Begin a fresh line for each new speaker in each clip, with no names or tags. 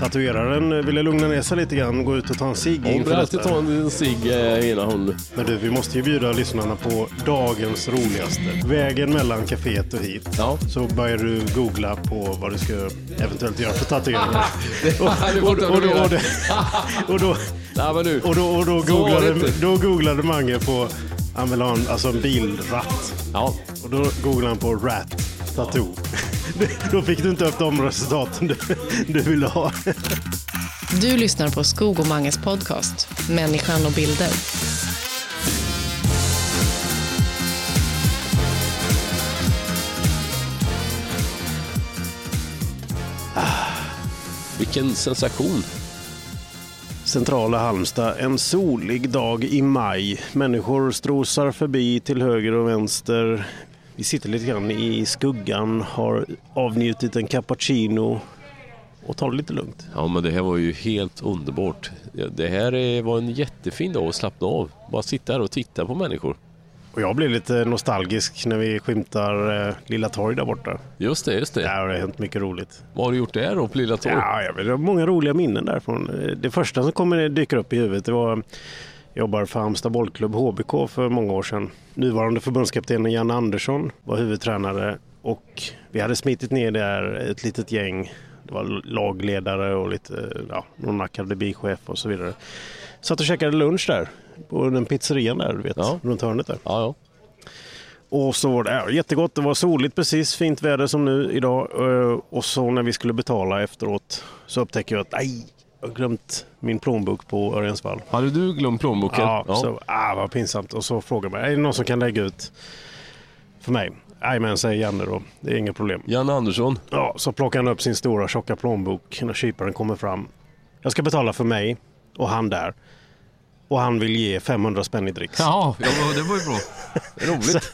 Tatueraren eh, ville lugna ner sig lite grann, gå ut och ta en cigg
Hon
inför
brukar alltid
detta.
ta en liten cigg eh, innan hon...
Men du, vi måste ju bjuda lyssnarna på dagens roligaste. Vägen mellan kaféet och hit.
Ja.
Så börjar du googla på vad du ska eventuellt göra för tatueringar.
Du får inte
och, då,
applådera.
och, det- och, då,
Nej men nu.
och, då, och då,
Så var det
googlade,
inte.
då googlade Mange på han vill ha en, alltså en bilratt.
Ja.
Och då googlade han på rat tattoo. Då fick du inte upp de resultaten du, du ville ha.
Du lyssnar på Skog och Manges podcast Människan och bilder.
Vilken sensation.
Centrala Halmstad, en solig dag i maj. Människor strosar förbi till höger och vänster. Vi sitter lite grann i skuggan, har avnjutit en cappuccino och tar det lite lugnt.
Ja men det här var ju helt underbart. Det här är- var en jättefin dag att slappna av. Bara sitta här och titta på människor.
Och jag blir lite nostalgisk när vi skymtar eh, Lilla Torg där borta.
Just det, just det.
Där har det hänt mycket roligt.
Vad har du gjort där då på Lilla Torg?
Ja, jag vet, jag har många roliga minnen därifrån. Eh, Det första som kommer dyker upp i huvudet det var jag jobbar för Halmstad bollklubb HBK för många år sedan. Nuvarande förbundskaptenen Janne Andersson var huvudtränare och vi hade smitit ner där ett litet gäng. Det var lagledare och lite, eh, ja, någon akademichef och så vidare. Satt och käkade lunch där på den pizzerian där, du vet,
Ja.
runt hörnet där.
Ja, ja.
Och så var det ja, jättegott, det var soligt precis, fint väder som nu idag. Eh, Och så när vi skulle betala efteråt så upptäcker jag att nej, jag har glömt min plånbok på Örjansvall.
Hade du glömt plånboken?
Ja, Så, ah, vad pinsamt. Och så frågar man, är det någon som kan lägga ut för mig? Jajamän, säger Janne då. Det är inga problem.
Janne Andersson.
Ja, så plockar han upp sin stora tjocka plånbok när kyparen kommer fram. Jag ska betala för mig och han där. Och han vill ge 500 spänn i dricks.
Ja, det var ju bra. Roligt.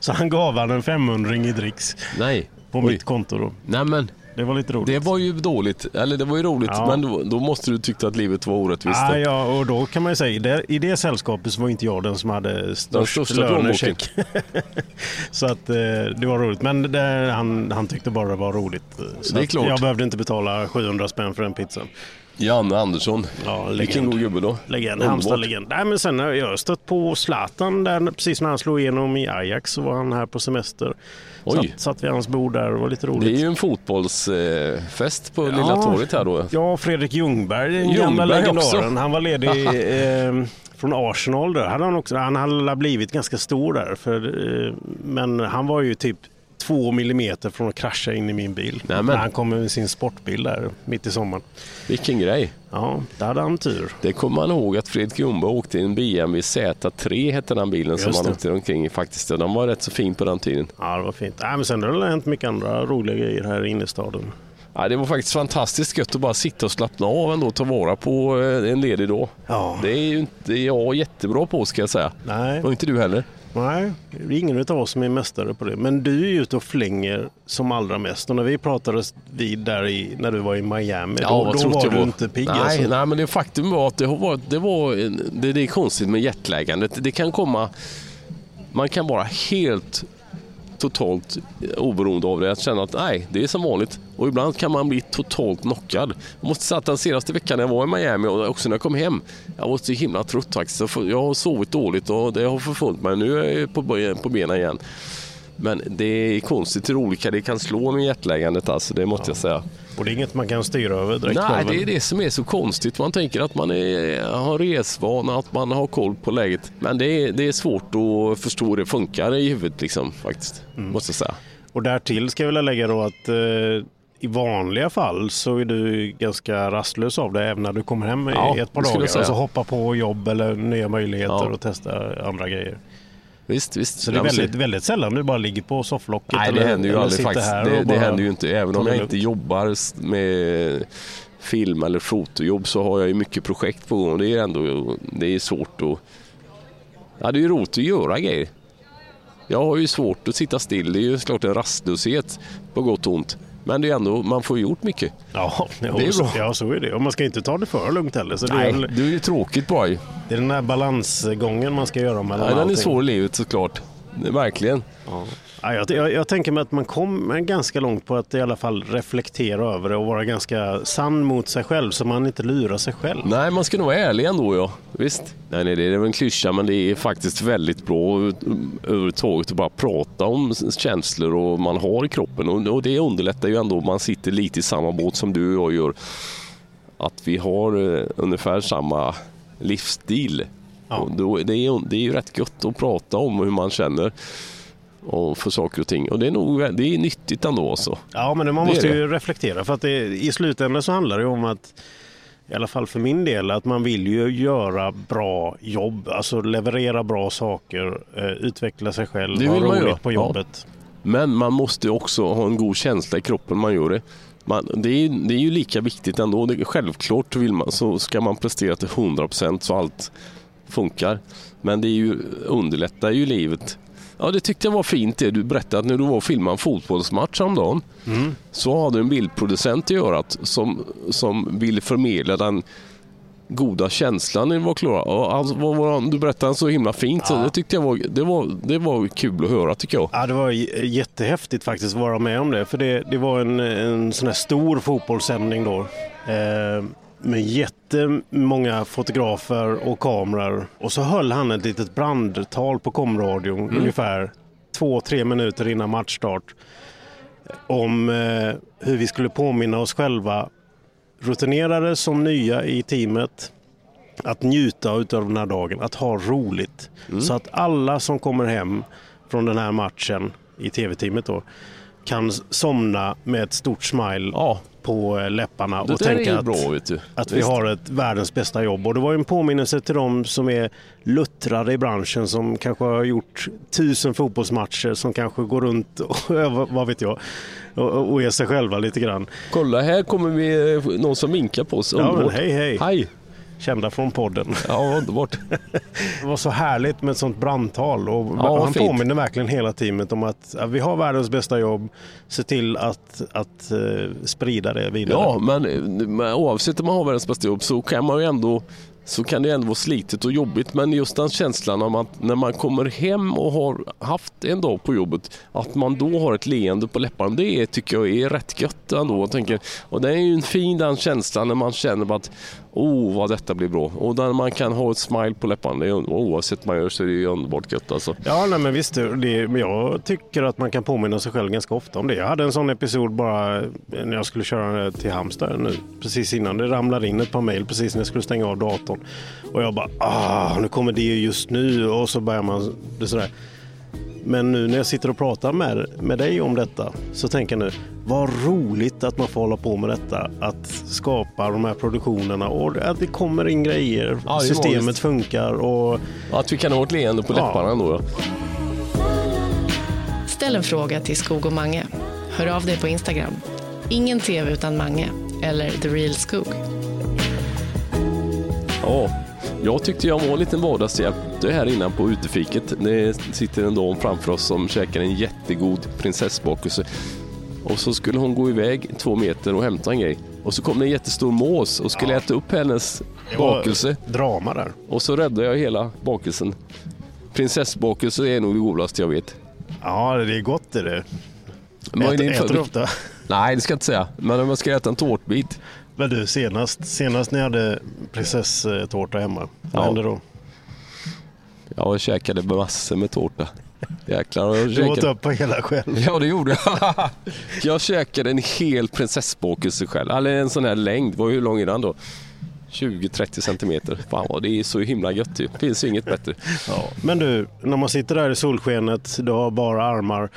Så han gav han en 500 i dricks
Nej.
på
Oj.
mitt konto då.
Nej men,
Det var lite roligt.
det var ju dåligt. Eller det var ju roligt,
Ja.
men då, då måste du tyckt att livet var orättvist.
Ah, ja, och då kan man ju säga, i det, i det sällskapet så var inte jag den som hade
Den
störst
största plånboken.
lönecheck. Så att eh, det var roligt. Men det, han, han tyckte bara det var roligt. eh, Så
Det är
att
klart.
Jag behövde inte betala 700 spänn för den pizzan.
Janne Andersson.
Ja,
Vilken
legend.
god gubbe då.
Legend,
Underbart.
Halmstad-legend. Nej, men sen har jag stött på Zlatan där precis när han slog igenom i Ajax så var han här på semester.
Oj.
Satt, satt vid hans bord där, det var lite
Det är
roligt.
ju en fotbollsfest på Lilla torget här då.
Ja, Fredrik Ljungberg, den gamla
Ljungberg också.
legendaren. Han var ledig eh, från Arsenal. Där. Han, hade också, han hade blivit ganska stor där. För, eh, men han var ju typ två millimeter från att krascha in i min bil.
Nämen.
När han kom med sin sportbil där mitt i sommaren.
Vilken grej.
Ja, där hade han tur.
Det kommer man ihåg att Fredrik Ljungberg åkte i en BMW Z3 hette den bilen som
Just
han
det.
åkte omkring i faktiskt. Den var rätt så fin på den tiden.
Ja, det var fint. Nej, men sen har det hänt mycket andra roliga grejer här i innerstaden.
Ja, det var faktiskt fantastiskt gött att bara sitta och slappna av ändå och ta vara på eh, en ledig dag.
Ja,
Det är ju inte jag jättebra på ska jag säga.
nej,
Och inte du heller.
nej, det är ingen utav oss som är mästare på det. Men du är ju ute och flänger som allra mest. Och när vi pratades vid där i, när du var i Miami, då,
vad
då
trött
var
jag
du inte pigg.
Nej,
alltså.
nej, men det faktum var att det, har varit, det var... en- Det, det är konstigt med jetlagandet. Det kan komma... Man kan vara helt totalt oberoende av det. Att känna att nej, det är som vanligt. Och ibland kan man bli totalt knockad. Jag måste säga att den senaste veckan när jag var i Miami och också när jag kom hem. Jag var så himla trött faktiskt. Jag får- Jag har sovit dåligt och det har förföljt mig. Nu är jag på, be- på benen igen. Men det är konstigt hur olika det kan slå med jetlagandet alltså. Det måste jag säga.
Och det är inget man kan styra över direkt.
Nej,
väl?
det är det som är så konstigt. Man tänker att man är, har resvana, att man har koll på läget. Men det är, det är svårt att förstå hur det funkar i huvudet liksom, faktiskt. Måste jag säga.
Och därtill ska jag vilja lägga då att eh, i vanliga fall så är du ganska rastlös av det även när du kommer hem i
Ja,
ett par
det skulle jag
dagar.
säga.
Alltså hoppa på jobb eller nya möjligheter
Ja.
och testa andra grejer.
Visst, visst.
Så det är
Ja, men
väldigt, väldigt sällan du bara ligger på sofflocket
Nej, det
eller,
händer ju
eller
aldrig
sitter
faktiskt.
här
Det,
och
det
bara-
händer ju inte. Även
ta
om
det
jag inte jobbar s- med film eller fotojobb så har jag ju mycket projekt på gång. och Det är ju ändå det är svårt att... Ja, det är ju roligt att göra grejer. Jag har ju svårt att sitta still. Det är ju klart en rastlöshet på gott och ont. Men det är ändå, man får gjort mycket.
Ja, jo,
Det är bra.
ja, så är det. Och man ska inte ta det för lugnt heller. Så det, är,
Nej,
väl-
det är ju tråkigt bara ju.
det är den här balansgången man ska göra mellan
Ja, den är
allting.
svår i livet såklart. Det- Verkligen.
Ja. Ja, jag, jag, jag tänker mig att man kommer ganska långt på att i alla fall reflektera över det och vara ganska sann mot sig själv så man inte lurar sig själv.
Nej, man ska nog vara ärlig ändå, ja. Visst. Nej, nej, det är väl en klyscha, men det är faktiskt väldigt bra över- överhuvudtaget att bara prata om s- känslor och man har i kroppen. Och, och det underlättar ju ändå, man sitter lite i samma båt som du och jag gör. Att vi har eh, ungefär samma livsstil.
Ja.
Och då, det, är, det är ju rätt gött att prata om hur man känner och för saker och ting. Och det är nog vä- det är nyttigt ändå alltså. också.
Ja, men man
Det är
måste
det.
ju reflektera för att det, i slutändan så handlar det om att i alla fall för min del, att man vill ju göra bra jobb, alltså leverera bra saker, eh, utveckla sig själv,
Det
ha
vill man göra.
roligt på
Ja.
jobbet.
Men man måste ju också ha en god känsla i kroppen när man gör det. Man, det, är, ju- det är ju lika viktigt ändå. Det, självklart vill man, så ska man prestera till 100% så allt funkar. Men det är ju, underlättar ju livet. Ja, det tyckte jag var fint det du berättade att när du var och filmade en fotbollsmatch häromdagen
Mm.
så har du en bildproducent i örat som, som vill förmedla den goda känslan när vi var klara. Och alltså, vad var han- du berättade så himla fint. Så
Ja.
det tyckte jag var, det var, det var kul att höra tycker jag.
Ja, det var j- jättehäftigt faktiskt att vara med om det. För det, det var en, en sån här stor fotbollssändning då. Eh, med jättemånga fotografer och kameror. Och så höll han ett litet brandtal på komradion ungefär två, tre minuter innan matchstart. Om eh, hur vi skulle påminna oss själva, rutinerade som nya i teamet, att njuta av den här dagen, att ha roligt.
Mm.
Så att alla som kommer hem från den här matchen i tv-teamet då kan s- somna med ett stort smile
Ja,
på eh, läpparna
Det
och
där är
tänka
ju
att,
bra vet du.
att vi
Visst.
har ett världens bästa jobb. Och det var ju en påminnelse till de som är luttrade i branschen som kanske har gjort tusen fotbollsmatcher som kanske går runt och vad vet jag och- och, och är sig själva lite grann.
Kolla här kommer vi eh, någon som vinkar på oss.
Ja, men
Underbart.
hej hej!
Hej!
Kända från podden.
Ja, underbart.
Det var så härligt med ett sånt brandtal och
Ja,
han
fint.
påminner verkligen hela teamet om att ja, vi har världens bästa jobb. Se till att, att eh, sprida det vidare.
Ja, men, eh, men oavsett om man har världens bästa jobb så kan man ju ändå så kan det ändå vara slitet och jobbigt. Men just den känslan om att när man kommer hem och har haft en dag på jobbet, att man då har ett leende på läpparna. Det är, tycker jag är rätt gött ändå. Jag tänker, och det är ju en fin den känslan när man känner att oh vad detta blir bra. Och där man kan ha ett smile på läpparna. Det är, un- oavsett vad man gör så är det ju underbart gött alltså.
Ja, nej, men visst. Det, men jag tycker att man kan påminna sig själv ganska ofta om det. Jag hade en sån episod bara när jag skulle köra till Halmstad nu, precis innan. Det ramlade in ett par mejl precis när jag skulle stänga av datorn. Och jag bara, ah, nu kommer det ju just nu. Och så börjar man det sådär. Men nu när jag sitter och pratar med, med dig om detta så tänker jag nu, vad roligt att man får hålla på med detta. Att skapa de här produktionerna och att det kommer in grejer.
Ja, det är
Systemet
magiskt.
funkar och
Att vi kan ha ett leende på
Ja.
läpparna ändå. Ja.
Ställ en fråga till Skog och Mange. Hör av dig på Instagram. Ingen TV utan Mange eller The Real Skog.
Ja, jag tyckte jag var en liten vardagshjälp. Det är här innan på utefiket. Det sitter en dam framför oss som käkar en jättegod prinsessbakelse. Och så skulle hon gå iväg två meter och hämta en grej. Och så kom det en jättestor mås och skulle äta upp hennes
det var
bakelse.
drama där.
Och så räddade jag hela bakelsen. Prinsessbakelse är nog det godaste jag vet.
Ja, det är gott är det.
Vad är
Äter,
din
äter du
favorit?
ofta?
Nej, det ska jag inte säga. Men om jag ska äta en tårtbit.
Men du, senast, senast när jag hade prinsesstårta hemma, vad
Ja.
hände då?
Ja, jag käkade massor med tårta. Jäklar. Jag
Du
käkade-
åt upp på hela själv.
Ja, det gjorde jag. jag käkade en hel prinsessbakelse själv. Eller en sån här längd. Vad- Hur lång är den då? 20-30 centimeter. Fan vad det är så himla gött ju. Finns ju inget bättre.
Men du, när man sitter där i solskenet, du har bara armar.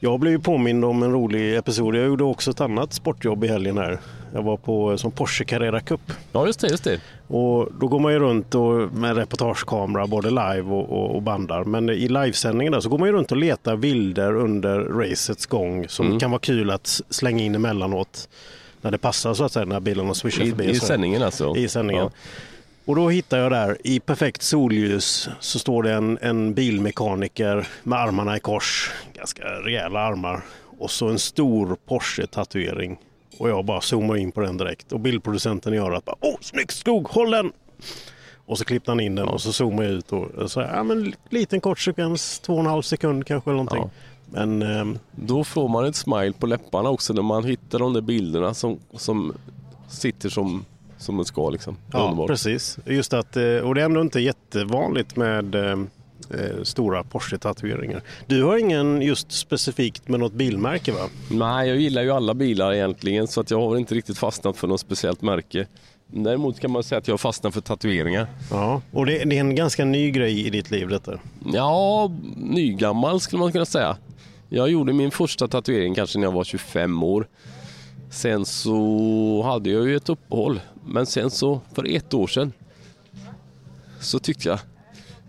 Jag blev ju påmind om en rolig episod. Jag gjorde också ett annat sportjobb i helgen här. Jag var på som Porsche Carrera Cup.
Ja, just det. Just det.
Och då går man ju runt och, med reportagekamera både live och, och, och bandar. Men i livesändningen där så går man ju runt och letar bilder under racets gång som
Mm.
kan vara kul att s- slänga in emellanåt. När det passar så att säga när bilarna swishar förbi.
I, I
och så.
sändningen alltså.
I sändningen.
Ja.
Och då hittar jag där i perfekt solljus så står det en, en bilmekaniker med armarna i kors. Ganska rejäla armar. Och så en stor Porsche-tatuering. Och jag bara zoomar in på den direkt. Och bildproducenten gör att bara, Åh, snyggt skog, håll den! Och så klippte han in den och så zoomade jag ut och så här, ja men liten kort sekvens, två och en halv sekund kanske eller någonting. Men ehm,
Då får man ett smile på läpparna också när man hittar de där bilderna som, som sitter som, som ett skal. Liksom.
Ja,
Underbart.
precis. Just att, eh, och det är ändå inte jättevanligt med eh, eh, stora Porsche-tatueringar. Du har ingen just specifikt med något bilmärke va?
Nej, jag gillar ju alla bilar egentligen så att jag har väl inte riktigt fastnat för något speciellt märke. Däremot kan man säga att jag har fastnat för tatueringar.
Ja, och det, det är en ganska ny grej i ditt liv detta.
Ja, nygammal skulle man kunna säga. Jag gjorde min första tatuering kanske när jag var 25 år. Sen så hade jag ju ett uppehåll. Men sen så, för ett år sedan, så tyckte jag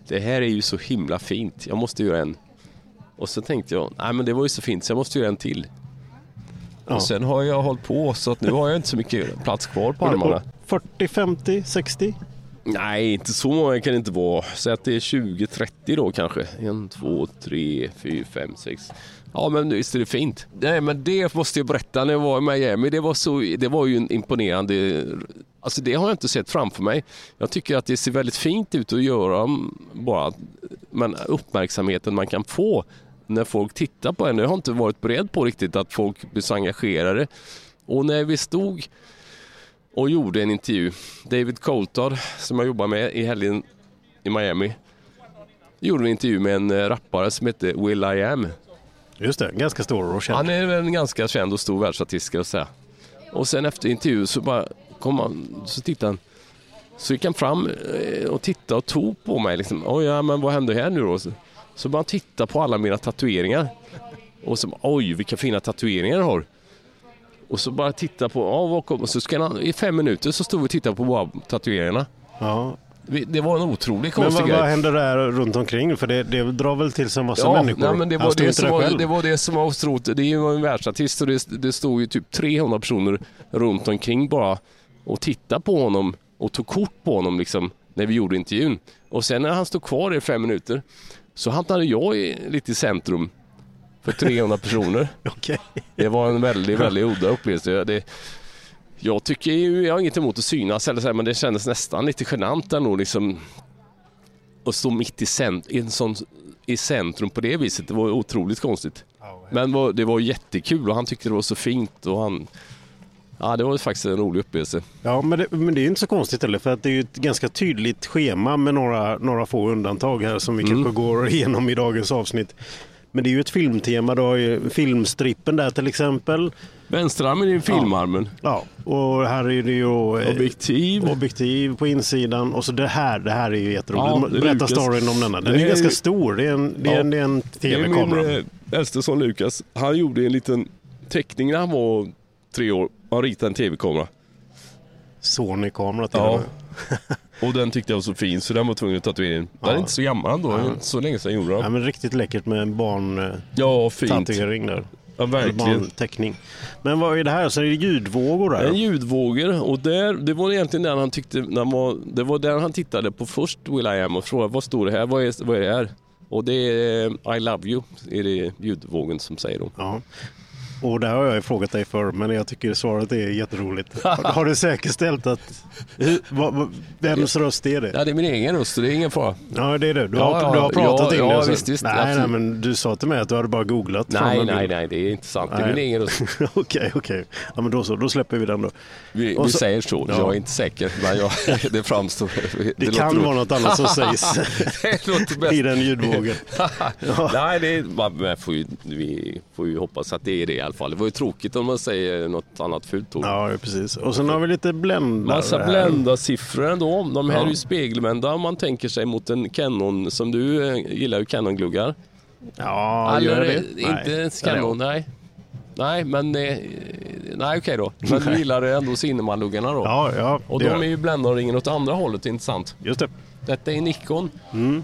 det här är ju så himla fint. Jag måste göra en. Och så tänkte jag, nej men det var ju så fint så jag måste göra en till.
Ja.
Och sen har jag hållit på så att nu har jag inte så mycket plats kvar på armarna.
40, 50, 60?
Nej, inte så många kan det inte vara. Säg att det är 20-30 då kanske. En, två, tre, fyra, fem, sex. Ja, men visst är det fint. Nej, men det måste jag berätta när jag var i Miami. Det var, så, det var ju en imponerande... Alltså det har jag inte sett framför mig. Jag tycker att det ser väldigt fint ut att göra mm, bara. Men uppmärksamheten man kan få när folk tittar på en. Jag har inte varit beredd på riktigt att folk blir så engagerade. Och när vi stod och gjorde en intervju. David Coulthard, som jag jobbar med i helgen i Miami, gjorde en intervju med en eh, rappare som heter Will I Am.
Just det, ganska stor och känd.
Han är väl en ganska känd och stor världsartist ska jag säga. Och sen efter intervjun så bara kom han, så tittade han. Så gick han fram eh, och tittade och tog på mig liksom. Oj, ja, men vad hände här nu då? Så- Så bara han tittade på alla mina tatueringar. Och så bara, oj vilka fina tatueringar du har. Och så bara titta på, ja vad kom? Och så ska han, i fem minuter så stod vi och tittade på bara tatueringarna.
Ja.
Vi- Det var en otrolig
Men
konstig
vad,
grej.
vad händer där runt omkring? För det, det drar väl till sig en massa människor?
Nej, men det,
Han
var
står ju
det,
inte
som
där
var,
själv.
det var det som var otroligt. Det är ju en världsartist och det, det stod ju typ 300 personer runt omkring bara och tittade på honom och tog kort på honom liksom när vi gjorde intervjun. Och sen när han stod kvar i fem minuter så hamnade jag i, lite i centrum för 300 personer.
Okej.
Det var en väldigt, väldigt udda upplevelse. Jag- Det, jag tycker ju, jag har inget emot att synas eller så här, men det kändes nästan lite genant ändå liksom. Att stå mitt i, cent, i, en sån, i centrum på det viset, det var otroligt konstigt. Men vad- det var jättekul och han tyckte det var så fint och han... Ja, det var faktiskt en rolig upplevelse.
Ja, men det, men det är ju inte så konstigt heller för att det är ju ett ganska tydligt schema med några, några få undantag här som vi
Mm.
kanske går igenom i dagens avsnitt. Men det är ju ett filmtema, du har ju filmstrippen där till exempel.
Vänsterarmen i filmarmen.
Ja, och här är det ju eh,
Objektiv.
objektiv på insidan och så det här, det här är ju
Ja,
jätteroligt.
det är
Berätta
Lukas.
storyn om denna. Den
Det
är
är-
ganska stor, det är en, det är
Ja.
en, det är en tv-kamera.
Det är min eh, äldste son Lukas. Han gjorde en liten teckning när han var tre år. Han ritade en tv-kamera.
Sony-kamera till och
Ja.
med.
Och den tyckte jag var så fin så den var tvungen att tatuera in. Den
Ja.
är inte så gammal då, så länge sedan jag gjorde
Ja,
den.
men riktigt läckert med en barn-tatuering
Ja,
där.
fint. Ja, verkligen.
Barnteckning. Men vad är det här? Så är det ljudvågor där?
En ljudvågor och där, det var egentligen den han tyckte, när han var, det var den han tittade på först Will I Am och frågade vad står det här, vad är, vad är det här? Och det är eh, I Love You, är det ljudvågen som säger då.
Ja. Och det här har jag ju frågat dig för men jag tycker svaret är jätteroligt. Har, har du säkerställt att... Hur, vad, vad, vems röst är det?
Ja, det är min egen röst så det är ingen fara.
Ja, det är du. Du,
Ja,
har,
ja,
du har pratat
ja,
in det.
ja,
och så-
visst, visst,
nej, nej,
absolut.
men du sa till mig att du hade bara googlat. fram
Nej,
en
nej,
bild.
nej, det är inte sant. Det är
Nej.
min egen röst.
Okej, okej. Ja, men då så. Då släpper vi den då.
Vi,
Och
vi
så-
säger så,
Ja.
jag är inte säker, men jag, det framstår... Det,
Det,
låter
kan
roligt.
vara något annat som sägs
Det låter
i
bäst.
den ljudvågen.
Nej, det är, man, man får ju, vi får ju hoppas att det är det i alla fall. Det var ju tråkigt om man säger något annat fult ord.
Ja, precis. Och sen har vi lite bländare
Massa
här.
bländarsiffror ändå. De här
Ja.
är ju spegelvända om man tänker sig mot en Canon som du eh, gillar ju Canon-gluggar.
Ja,
Eller eh,
gör jag det?
Inte ens Canon, nej. Nej, men eh, nej, okej då. Men du gillar ändå Cinema-luggarna då.
Ja, ja.
Och
det
de
gör
är
jag.
ju bländaren åt andra hållet, det är intressant.
Just det.
Detta är Nikon.
Mm.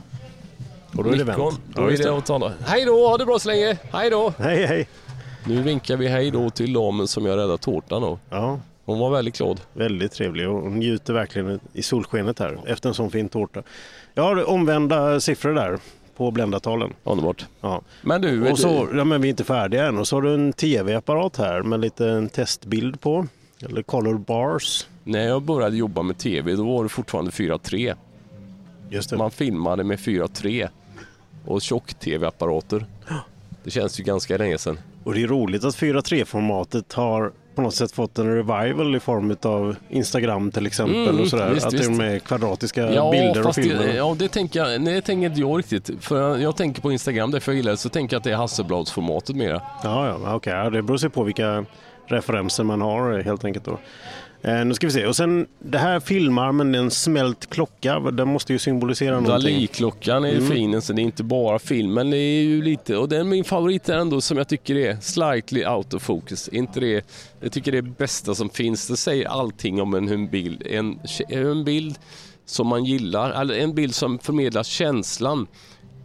Och då är det
Nikon.
vänt.
Då
Ja,
är
just
det
det.
åt andra. Hej då, ha det bra så länge. Hej då.
Hej, hej.
Nu vinkar vi hej då till damen som jag räddade tårtan av.
Ja,
Hon var väldigt glad.
Väldigt trevlig och hon njuter verkligen i solskenet här efter en sån fin tårta. Jag har omvända siffror där på bländartalen.
Underbart.
Ja.
Men du,
Och så, ja, men vi är inte färdiga än. Och så har du en tv-apparat här med lite en testbild på. Eller color bars.
när jag började jobba med tv då var det fortfarande 4.3.
Just det.
Man filmade med 4.3 och tjock-tv-apparater. Det känns ju ganska länge sedan.
Och det är roligt att 4.3-formatet har på något sätt fått en revival i form av Instagram till exempel
Mm,
och sådär.
visst,
att det är
visst.
med kvadratiska
Ja,
bilder och
fast
filmer.
det, ja, det tänker jag. Nej, det tänker inte jag riktigt. För jag, jag tänker på Instagram, därför jag gillar det, så tänker jag att det är Hasselbladsformatet mera.
Ja, ja okej. Ja, det beror sig på vilka referenser man har eh, helt enkelt. Då. Eh, nu ska vi se. Och sen, det här filmarmen, det är en smält klocka. Den måste ju symbolisera någonting. Mm.
Dali-klockan är ju fin, så det är inte bara filmen. Det är ju lite, och den min favorit är ändå som jag tycker är slightly out of focus. Inte det, jag tycker det är bästa som finns. Det säger allting om en, hur en bild. En, en bild som man gillar, eller en bild som förmedlar känslan.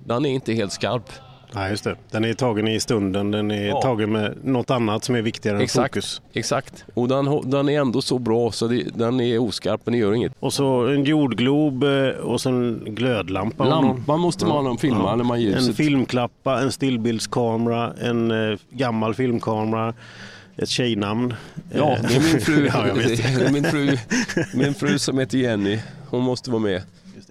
Den är inte helt skarp.
Ja, just det. Den är tagen i stunden. Den är
Ja.
tagen med något annat som är viktigare än fokus.
Exakt. Och den, ho- den är ändå så bra så det, den är oskarp men det gör inget.
Och så en jordglob eh, och så en glödlampa. om någon-
Lampan måste man ha när man filmar, när man
En
ljuset.
filmklappa, en stillbildskamera, en eh, gammal filmkamera, ett tjejnamn.
Ja,
Eh,
det är min fru.
ja, jag vet.
Det är min fru. Min fru som heter Jenny. Hon måste vara med.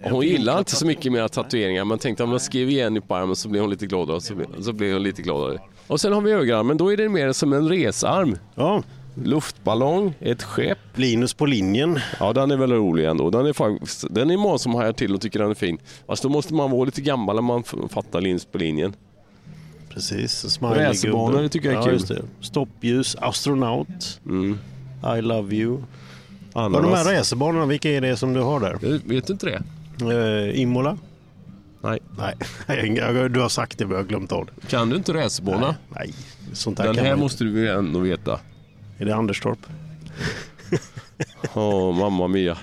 Hon gillar inte så mycket mina tatueringar men tänkte om jag skriver Jenny på armen så blir hon lite gladare. Så blir, så blir hon lite gladare. Och sen har vi högerarmen. Då är det mer som en resarm.
Ja,
Luftballong, ett skepp.
Linus på linjen.
Ja, den är väl rolig ändå. Den är, faktiskt, den är många som hajar till och tycker den är fin. Fast då måste man vara lite gammal när man f- fattar linst på linjen.
Precis, en smiley
Racerbanor,
gubbe.
det tycker jag är
ja,
kul.
Just det. Stoppljus, astronaut,
Mm.
I love you. Och de
Ananas.
här racerbanorna, vilka är det som du har där?
Jag Vet du inte det?
Eh, Imola?
Nej.
Nej, jag- du har sagt det men jag har glömt av det.
Kan du inte racerbana?
Nej, sånt där
Den
kan
här
man
måste du ju ändå veta.
inte. Är det Anderstorp?
Åh, mamma mia.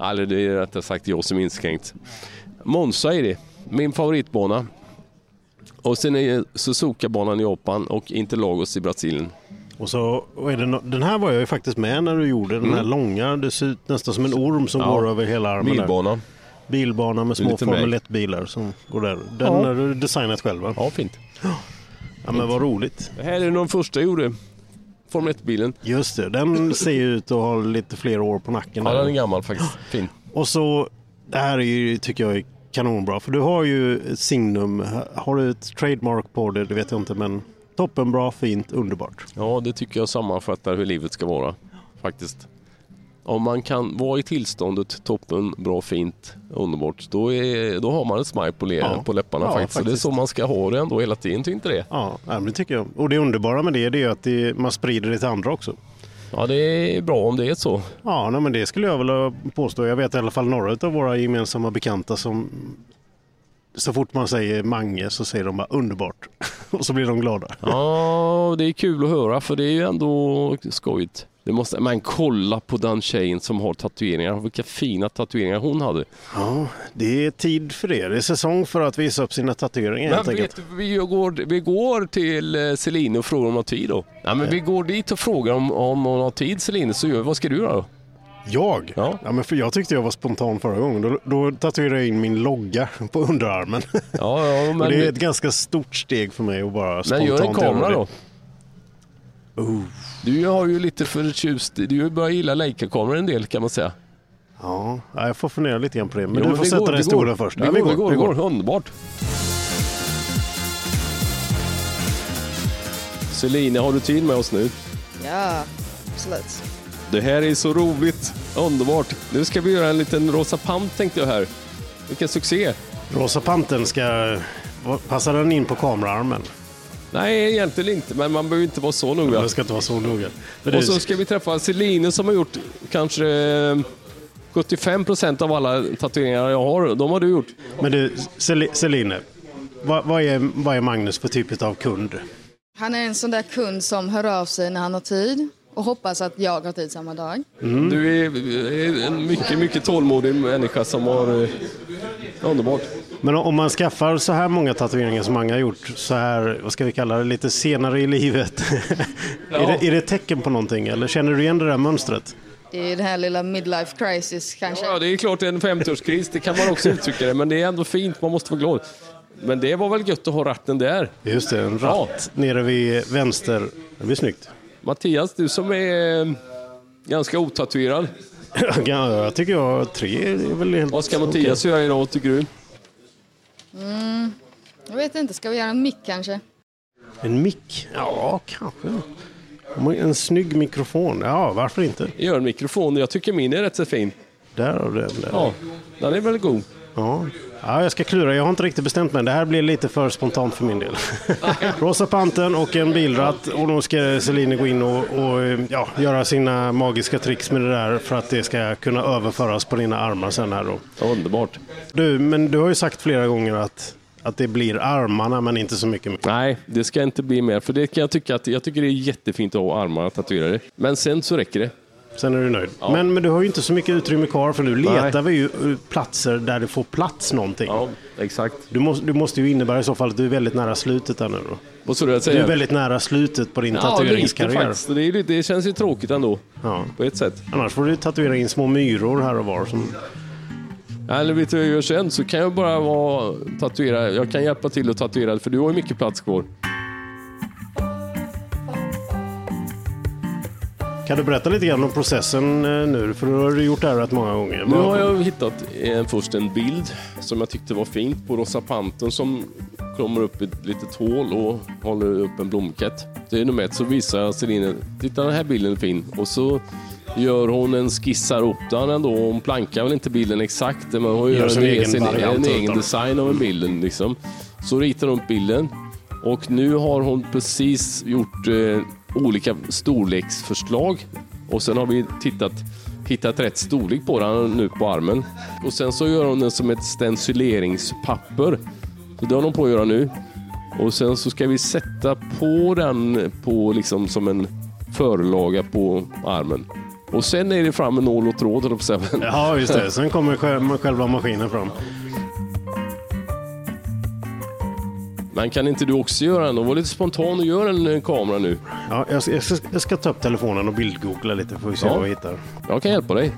Eller det är rättare sagt jag som är inskränkt. Monza är det, min favoritbana. Och sen är Suzuka-banan i Japan och Interlagos i Brasilien.
Och så, och är det no- den här var jag ju faktiskt med när du gjorde den här långa. Det ser ut nästan som en orm som
Mm. Ja.
går över hela armen. där.
Bilbanan.
Bilbana med små
Liten
Formel
väg.
1-bilar som går där. Den
Ja.
har du designat själv va?
Ja, fint.
Ja men vad roligt.
Det här är de första jag gjorde. Formel 1-bilen.
Just det, den ser ju ut att ha lite fler år på nacken.
Ja,
där.
den är gammal faktiskt. Fin.
Och så, det här är ju, tycker jag är kanonbra. För du har ju ett signum, har du ett trademark på det, det vet jag inte men toppenbra, fint, underbart.
Ja, det tycker jag sammanfattar hur livet ska vara. Faktiskt. Om man kan vara i tillståndet toppen, bra, fint, underbart. Då, är, då har man ett smile på, le,
Ja.
på läpparna
Ja,
faktiskt. Så det är
faktiskt.
så man ska ha det ändå hela tiden, tycker inte det?
Ja, ja, men det tycker jag. Och det underbara med det, det är ju att det, man sprider det till andra också.
Ja, det är bra om det är så.
Ja, nej, men det skulle jag vilja påstå. Jag vet i alla fall några av våra gemensamma bekanta som så fort man säger Mange så säger de bara underbart. Och så blir de glada.
Ja, det är kul att höra för det är ju ändå skojigt. Det måste, men kolla på den tjejen som har tatueringar. Vilka fina tatueringar hon hade.
Ja, det är tid för det. Det är säsong för att visa upp sina tatueringar helt
Men
enkelt.
vet, du, vi, går, vi går till eh, Celine och frågar om hon har tid då. Ja, men vi går dit och frågar om, om hon har tid Celine, så gör, vad ska du göra då?
Jag?
Ja.
men för jag tyckte jag var spontan förra gången. Då, då tatuerade jag in min logga på underarmen.
Ja, ja
Men,
men,
det är ett ganska stort steg för mig att bara
men
spontant
gör en kamera
göra det.
då. Du har ju lite förtjust, du börjar gilla Leica-kameror en del kan man säga.
Ja, ja, jag får fundera lite grann på det. Men
Jo,
du får
det
sätta
går,
den
det
stolen
går.
först.
Det
Ja,
går, det går, det går. Underbart. Celine, har du tid med oss nu?
Ja, absolut.
Det här är så roligt. Underbart. Nu ska vi göra en liten Rosa Pant tänkte jag här. Vilken succé.
Rosa panten ska... Passar den in på kameraarmen?
Nej, egentligen inte, men man behöver inte vara så
Ja.
noga.
Det ska inte vara så noga. Men det-
Och så ska vi träffa Celine som har gjort kanske eh, 75 procent av alla tatueringar jag har. De har du gjort.
Men du, Cel- Celine. Vad, vad, är, vad är Magnus för typ av kund?
Han är en sån där kund som hör av sig när han har tid och hoppas att jag har tid samma dag.
Mm.
Du är eh, en mycket, mycket tålmodig människa som har... eh, Underbart.
Men om man skaffar så här många tatueringar som Mange har gjort så här, vad ska vi kalla det, lite senare i livet. är, det, är det ett tecken på någonting eller känner du igen det där mönstret?
Det är den här lilla midlife crisis kanske.
Ja, det är klart det är en 50-årskris, det kan man också uttrycka det, men det är ändå fint, man måste vara glad. Men det var väl gött att ha ratten där.
Just det, en ratt nere vid vänster. Det blir snyggt.
Mattias, du som är eh, ganska otatuerad.
Ja, jag tycker jag tre är väl helt
Vad ska Mattias göra idag tycker du?
Jag vet inte, ska vi göra en mick kanske?
En mick? Ja, kanske. Om En snygg mikrofon? Ja, varför inte?
Jag gör en mikrofon. Jag tycker min är rätt så fin.
Där har du den. Där.
Ja, den är väldigt god.
Ja. ja, jag ska klura. Jag har inte riktigt bestämt mig. Det här blir lite för spontant för min del. Rosa panten och en bilratt och då ska Celine gå in och, och ja, göra sina magiska tricks med det där för att det ska kunna överföras på dina armar sen här då.
Underbart.
Du, men du har ju sagt flera gånger att, att det blir armarna men inte så mycket mer.
Nej, det ska inte bli mer. För det kan jag tycka att jag tycker det är jättefint att ha armarna tatuerade. Men sen så räcker det.
Sen är du nöjd. Men, men du har ju inte så mycket utrymme kvar för nu letar
Nej.
vi ju eh, platser där det får plats någonting.
exakt.
Du, måste, du måste ju innebära i så fall att du är väldigt nära slutet där nu då.
Vad sa du? Jag
Du är
säger?
väldigt nära slutet på din
ja, lite
tatueringskarriär.
faktiskt. Det, är, ju- det känns ju tråkigt ändå.
Ja.
På ett sätt.
Annars får du tatuera in små myror här och var. Som...
Nej, Eller vet du vad jag gör sen? Så kan jag bara vara tatuerare. Jag kan hjälpa till att tatuera för du har ju mycket plats kvar.
Kan du berätta lite grann om processen eh, nu? För du har du gjort det här rätt många gånger.
Nu
Vad-
har jag hittat eh, först en bild som jag tyckte var fint på rosa panten som kommer upp i ett litet hål och håller upp en blomkett. Det är nummer ett. Så visar jag Celine, titta den här bilden är fin. Och så gör hon en skissar upp den ändå. Hon plankar väl inte bilden exakt men hon gör,
sin
en,
egen
egen, sin, en
variant
egen
utav-
design av en bilden. Liksom. Så ritar hon upp bilden och nu har hon precis gjort eh, olika storleksförslag och sen har vi tittat, hittat rätt storlek på den nu på armen. Och sen så gör hon den som ett stencileringspapper. Så det har hon på att göra nu. Och sen så ska vi sätta på den på liksom som en förlaga på armen. Och sen är det fram med nål och tråd höll jag på att säga.
Ja, just det. Sen kommer själv- själva maskinen fram.
Men kan inte du också göra en? Var lite spontan och gör en eh, kamera nu.
Ja, jag, ska, jag, ska, jag ska ta upp telefonen och bildgoogla lite får vi se
Ja.
vad vi hittar.
Jag kan hjälpa dig.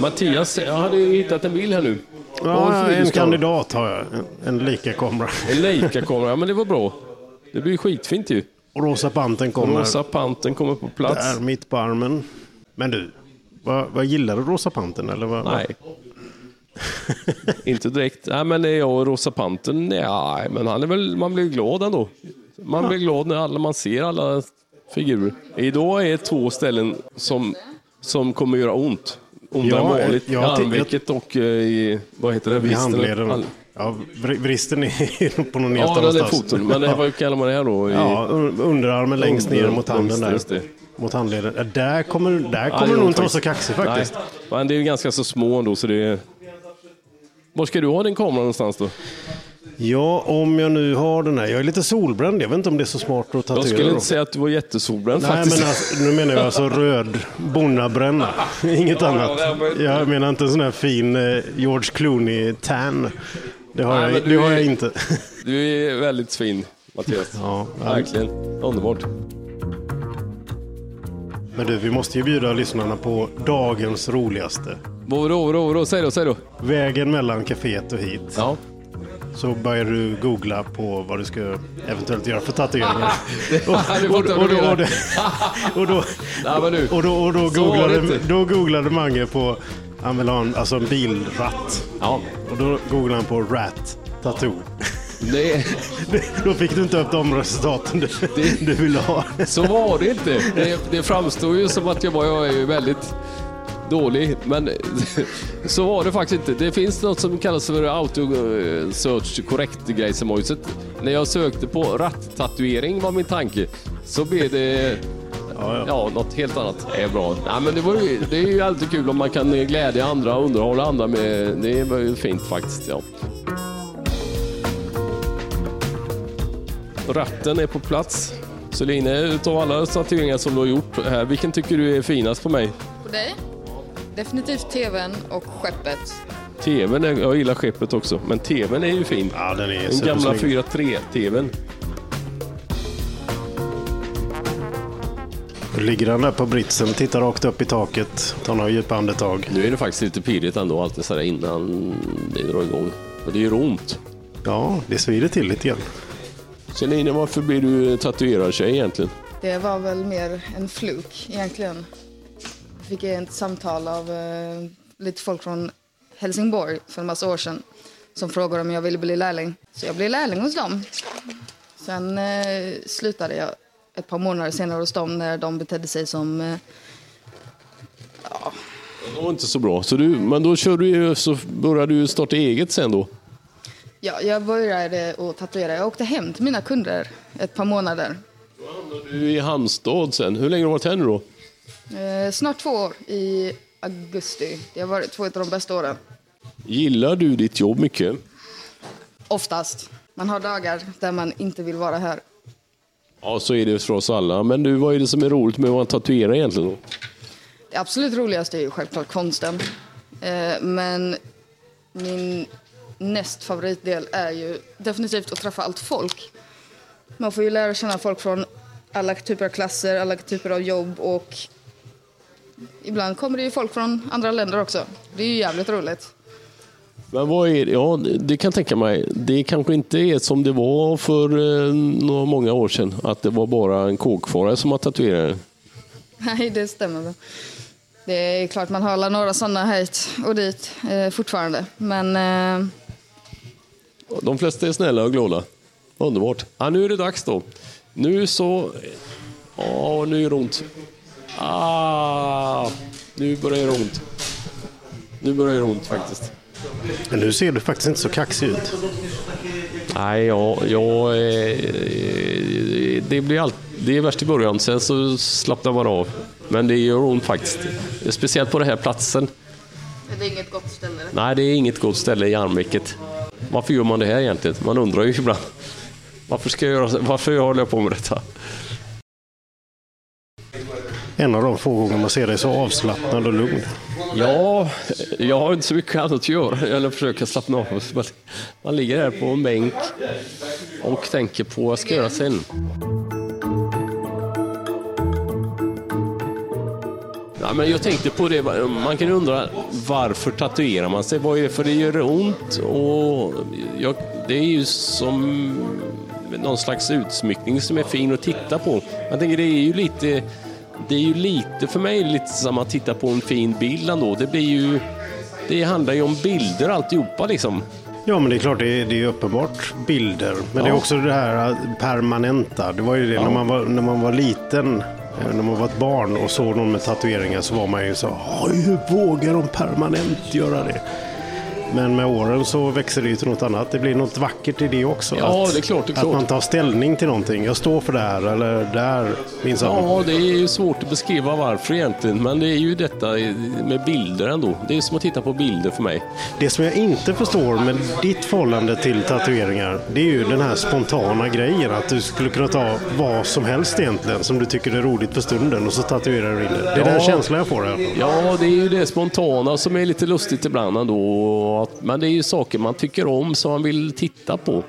Mattias, jag hade ju hittat en bild här nu. Vad har
Ja,
du för bild
en
du ska ha?
kandidat har jag. En- En Leica-kamera.
En Leica-kamera, ja, men det var bra. Det blir skitfint ju.
Och rosa panten kommer.
Rosa panten kommer på plats.
Där, mitt på armen. Men du, vad, vad gillar du rosa panten? Eller vad,
Nej. inte direkt. Nej, men jag och Rosa Panten, nej, men han är väl, man blir glad ändå. Man blir glad när alla, man ser alla figurer. Idag är två ställen som, som kommer göra ont. Ondare än
Ja,
vanligt.
ja,
I
jag-
armvecket och eh, i, vad heter det?
I
Vristen.
handleden.
All-
Ja, vri- vristen är på någon
Ja,
helt
den är
annanstans.
foten. Men det här, vad kallar man det här då? I,
Ja, un- underarmen längst ner
Under-
mot handen där.
just det.
Mot handleden. Ja, Där kommer, där
Ja,
kommer
det
du
är
nog
ont
inte vara så kaxig faktiskt.
Nej, men det är ju ganska så små ändå så det är... Var ska du ha din kamera någonstans då?
Ja, om jag nu har den här. Jag är lite solbränd. Jag vet inte om det är så smart att
Jag
tatuera.
skulle
då.
inte säga att du var jättesolbränd
Nej,
faktiskt.
men alltså, nu menar jag alltså röd bonnabränna. Inget annat. Jag menar inte en sån här fin eh, George Clooney-tan. Det har,
Nej,
jag,
men
det
du
har
är-
jag inte.
Du är väldigt fin, Mattias.
Ja,
Verkligen. Underbart.
Men du, vi måste ju bjuda lyssnarna på dagens roligaste.
Vadå, vadå, vadå? Säg då, säg då.
Vägen mellan kaféet och hit.
Ja.
Så börjar du googla på vad du ska eventuellt göra för tatueringar.
Du
och,
fattar
och,
vad du
då, och,
menar.
då, och, då,
Nej, men du.
och, då, och då,
Så var det
googlade,
inte.
då googlade Mange på, han vill ha en, alltså en bilratt.
Ja.
Och då googlade han på rat tattoo.
Det, är-
Då fick du inte upp de resultaten du, du ville ha.
så var det inte. Det, det framstod ju som att jag var jag är ju väldigt dålig, men så var det faktiskt inte. Det finns något som kallas för auto eh, search correct grejsemoiset. När jag sökte på ratt-tatuering var min tanke, så blev det
Ja, ja.
Ja, något helt annat är bra. Nej, men det, var ju, det är ju alltid kul om man kan eh, glädja andra och underhålla andra. Med, det var ju fint faktiskt. Ja. Ratten är på plats. Celine, utav alla tatueringar som du har gjort här, vilken tycker du är finast på mig?
På dig? Definitivt tvn och skeppet.
TVn, är- jag gillar skeppet också, men TVn är ju fin.
ja den är
Den gamla
supersnygg.
4.3-TVn.
Då ligger han där på britsen, tittar rakt upp i taket, tar några djupa andetag.
Nu är det faktiskt lite pirrigt ändå, alltid sådär innan det drar igång. Och det gör ont.
Ja, det svider till lite grann.
Celine, varför blir du tatuerartjej egentligen?
Det var väl mer en fluk egentligen. Jag fick ett samtal av eh, lite folk från Helsingborg för en massa år sedan som frågade om jag ville bli lärling. Så jag blev lärling hos dem. Sen eh, slutade jag ett par månader senare hos dem när de betedde sig som... Eh,
Det var inte så bra. Så du, men då körde du, ju- så började du starta eget sen då.
ja, jag började att tatuera. Jag åkte hem till mina kunder ett par månader.
Då hamnade du i Halmstad sen. Hur länge har du varit här nu då?
Eh, snart två år i augusti. Det har varit två av de bästa åren.
Gillar du ditt jobb mycket?
Oftast. Man har dagar där man inte vill vara här.
Ja, så är det för oss alla. Men du, vad är det som är roligt med att tatuera egentligen? Då?
Det absolut roligaste är ju självklart konsten. Eh, men min näst favoritdel är ju definitivt att träffa allt folk. Man får ju lära känna folk från alla typer av klasser, alla typer av jobb och ibland kommer det ju folk från andra länder också. Det är ju jävligt roligt.
Men vad är det? Ja, det kan jag tänka mig. Det kanske inte är som det var för eh, några många år sedan. Att det var bara en kåkfarare som var tatuerare.
Nej, det stämmer väl. Det är klart man har alla några sådana hit och dit eh, fortfarande. Men eh,
De flesta är snälla och glada. Underbart. Ja, nu är det dags då. Nu så... Ja, nu gör det ont. Ah, nu börjar det ont. Nu börjar det ont faktiskt.
Men nu ser du faktiskt inte så kaxig ut.
Nej, ja, ja, eh, det blir allt. Det är värst i början, sen så slappnar man av. Men det gör ont faktiskt. Speciellt på den här platsen.
det är inget gott ställe.
Nej, det är inget gott ställe i armvecket. Varför gör man det här egentligen? Man undrar ju ibland. Varför, ska jag göra, varför håller jag på med detta?
En av de få gånger man ser dig så avslappnad och lugn.
Ja, jag har inte så mycket annat att göra än att försöka slappna av. Men Man ligger här på en bänk och tänker på vad jag ska göra sen. Ja, men jag tänkte på det, man kan ju undra varför tatuerar man sig? Vad är det för det gör ont? Och jag, det är ju som någon slags utsmyckning som är fin att titta på. Jag tänker det är ju lite, det är ju lite för mig lite som att titta på en fin bild ändå. Det blir ju, det handlar ju om bilder alltihopa liksom.
Ja, men det är klart, det är, det är ju uppenbart bilder. Men det är
Ja.
också det här äh, permanenta. Det var ju det när, man var, när man var liten, eh, när man var ett barn och såg någon med tatueringar så var man ju så "Oj, hur vågar de permanent göra det? Men med åren så växer det ju till något annat. Det blir något vackert i det också.
Ja, det är klart, det är
Att
klart.
man tar ställning till någonting. Jag står för det här eller där minsann.
Ja, det är ju svårt att beskriva varför egentligen, men det är ju detta med bilder ändå. Det är som att titta på bilder för mig.
Det som jag inte förstår med ditt förhållande till tatueringar, det är ju den här spontana grejen att du skulle kunna ta vad som helst egentligen som du tycker är roligt för stunden och så tatuerar du in det. Det är
Ja.
den känslan jag får i alla fall.
Ja, det är ju det spontana som är lite lustigt ibland ändå. Att- Men det är ju saker man tycker om som man vill titta på.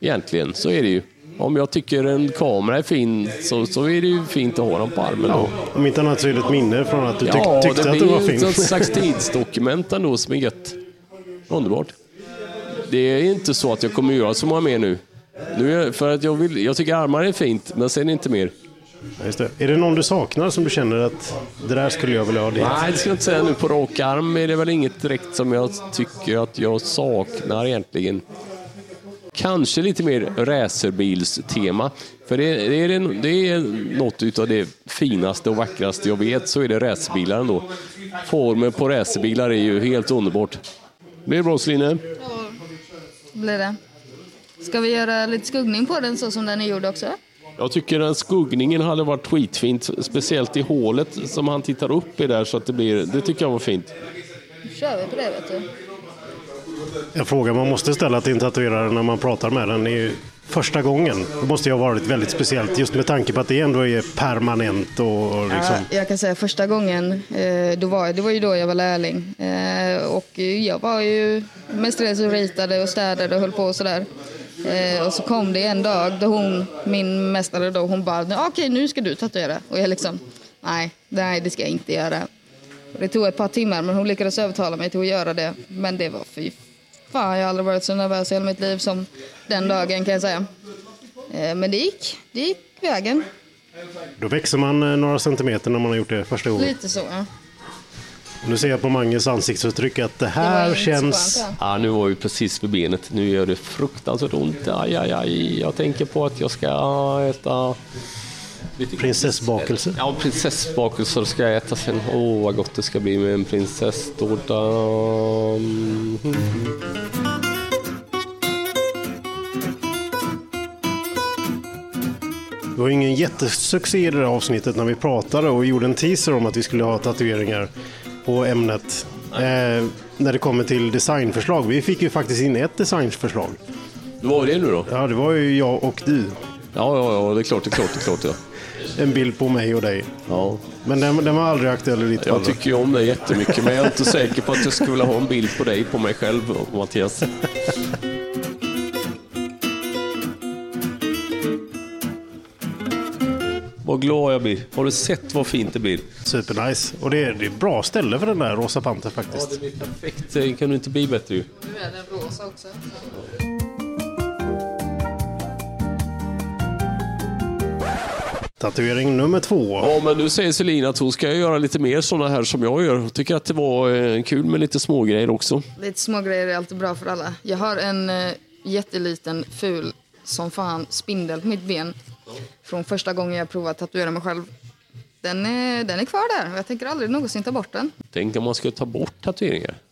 Egentligen, så är det ju. Om jag tycker en kamera är fin så, så är det ju fint att ha den på armen. Då.
Om inte annat så är det ett minne från att du tyck-
Ja,
tyckte
det
att
blir
det var
ju ett
fint.
slags tidsdokument ändå som är gött. Underbart. Det är inte så att jag kommer göra så många mer nu. nu är, för att jag, vill, jag tycker armar är fint, men sen inte mer.
Just det. Är det någon du saknar som du känner att det där skulle jag vilja ha det?
Nej, det ska jag inte säga nu. På rak arm är det väl inget direkt som jag tycker att jag saknar egentligen. Kanske lite mer racerbilstema. För det, det, är, det, det är något utav det finaste och vackraste jag vet, så är det racerbilar ändå. Formen på racerbilar är ju helt underbart. Blir det bra Sline?
Blir det. Ska vi göra lite skuggning på den så som den är gjord också?
Jag tycker den skuggningen hade varit skitfint, speciellt i hålet som han tittar upp i där så att det blir, det tycker jag var fint.
Då kör vi på det vet du.
En fråga man måste ställa till en tatuerare när man pratar med den är ju första gången. Det måste ju ha varit väldigt speciellt just med tanke på att det ändå är permanent och, och liksom...
Ja, jag kan säga första gången, eh, då var, det var ju då jag var lärling. Eh, Och eh, jag var ju mestadels och ritade och städade och höll på och sådär. Eh, Och så kom det en dag då hon, min mästare då, hon bara "Ja, okej nu ska du tatuera. Och jag liksom nej, nej det ska jag inte göra. Och Det tog ett par timmar men hon lyckades övertala mig till att göra det. Men det var fy fan, jag har aldrig varit så nervös i hela mitt liv som den dagen kan jag säga. Eh, Men det gick, det gick vägen.
Då växer man eh, några centimeter när man har gjort det första gången.
Lite så ja.
Nu ser jag på Manges ansiktsuttryck att det
var
här
inte så
känns...
skönt,
Ah, nu var vi precis vid benet. Nu gör det fruktansvärt ont. Aj, aj, aj. Jag tänker på att jag ska äta... lite godis.
Prinsessbakelse.
Ja, prinsessbakelser ska jag äta sen. Åh, vad gott det ska bli med en prinsesstårta. Mm.
Det var ju ingen jättesuccé i det där avsnittet när vi pratade och gjorde en teaser om att vi skulle ha tatueringar på ämnet. Eh, när det kommer till designförslag. Vi fick ju faktiskt in ett designförslag.
Vad var det nu då?
Ja, det var ju jag och du.
Ja, ja, ja, det är klart, det är klart, det är klart. Ja.
En bild på mig och dig.
Ja.
Men den, den var aldrig aktuell i ditt fall.
Jag tycker ju om dig jättemycket, men jag är inte säker på att jag skulle vilja ha en bild på dig, på mig själv, Mattias. Vad glad jag blir. Har du sett vad fint det blir?
Supernice. Och det är, det är ett bra ställe för den där Rosa Panter faktiskt.
blir perfekt. Det kan du inte bli bättre ju.
Nu är den rosa också.
Tatuering nummer två.
Ja, men nu säger Selina att hon ska göra lite mer sådana här som jag gör. Tycker att det var eh, kul med lite smågrejer också.
Lite små grejer är alltid bra för alla. Jag har en eh, jätteliten ful som fan spindel på mitt ben. Från första gången jag provade att tatuera mig själv. Den är, den är kvar där och jag tänker aldrig någonsin ta bort den.
Tänk om man skulle ta bort tatueringar.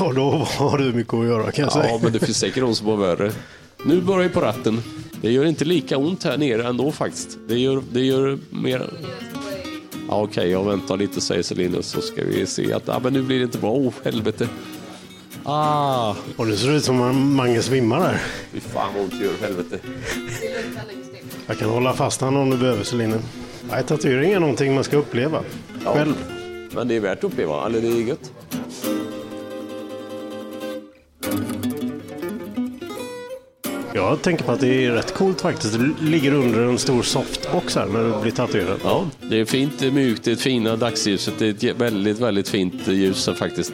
Ja, då har du mycket att göra kan jag
Ja,
säga.
men det finns säkert de som har värre. Nu börjar vi på ratten. Det gör inte lika ont här nere ändå faktiskt. Det gör, det gör mer... Ja, Okej, jag väntar lite säger Selina så ska vi se att ah, men nu blir det inte bra. Åh, helvete. Ah,
Och det ser ut som en Mange svimmar där.
fy fan vad ont det gör, helvete.
Jag kan hålla fast han om du behöver Celine. Nej, tatuering är någonting man ska uppleva
Ja.
själv.
Men det är värt att uppleva, eller det är gött.
Jag tänker på att det är rätt coolt faktiskt. Det ligger under en stor softbox här när du blir tatuerad.
Ja, det är fint, det är mjukt, det är fina dagsljuset. Det är ett jä- väldigt, väldigt fint ljus här faktiskt.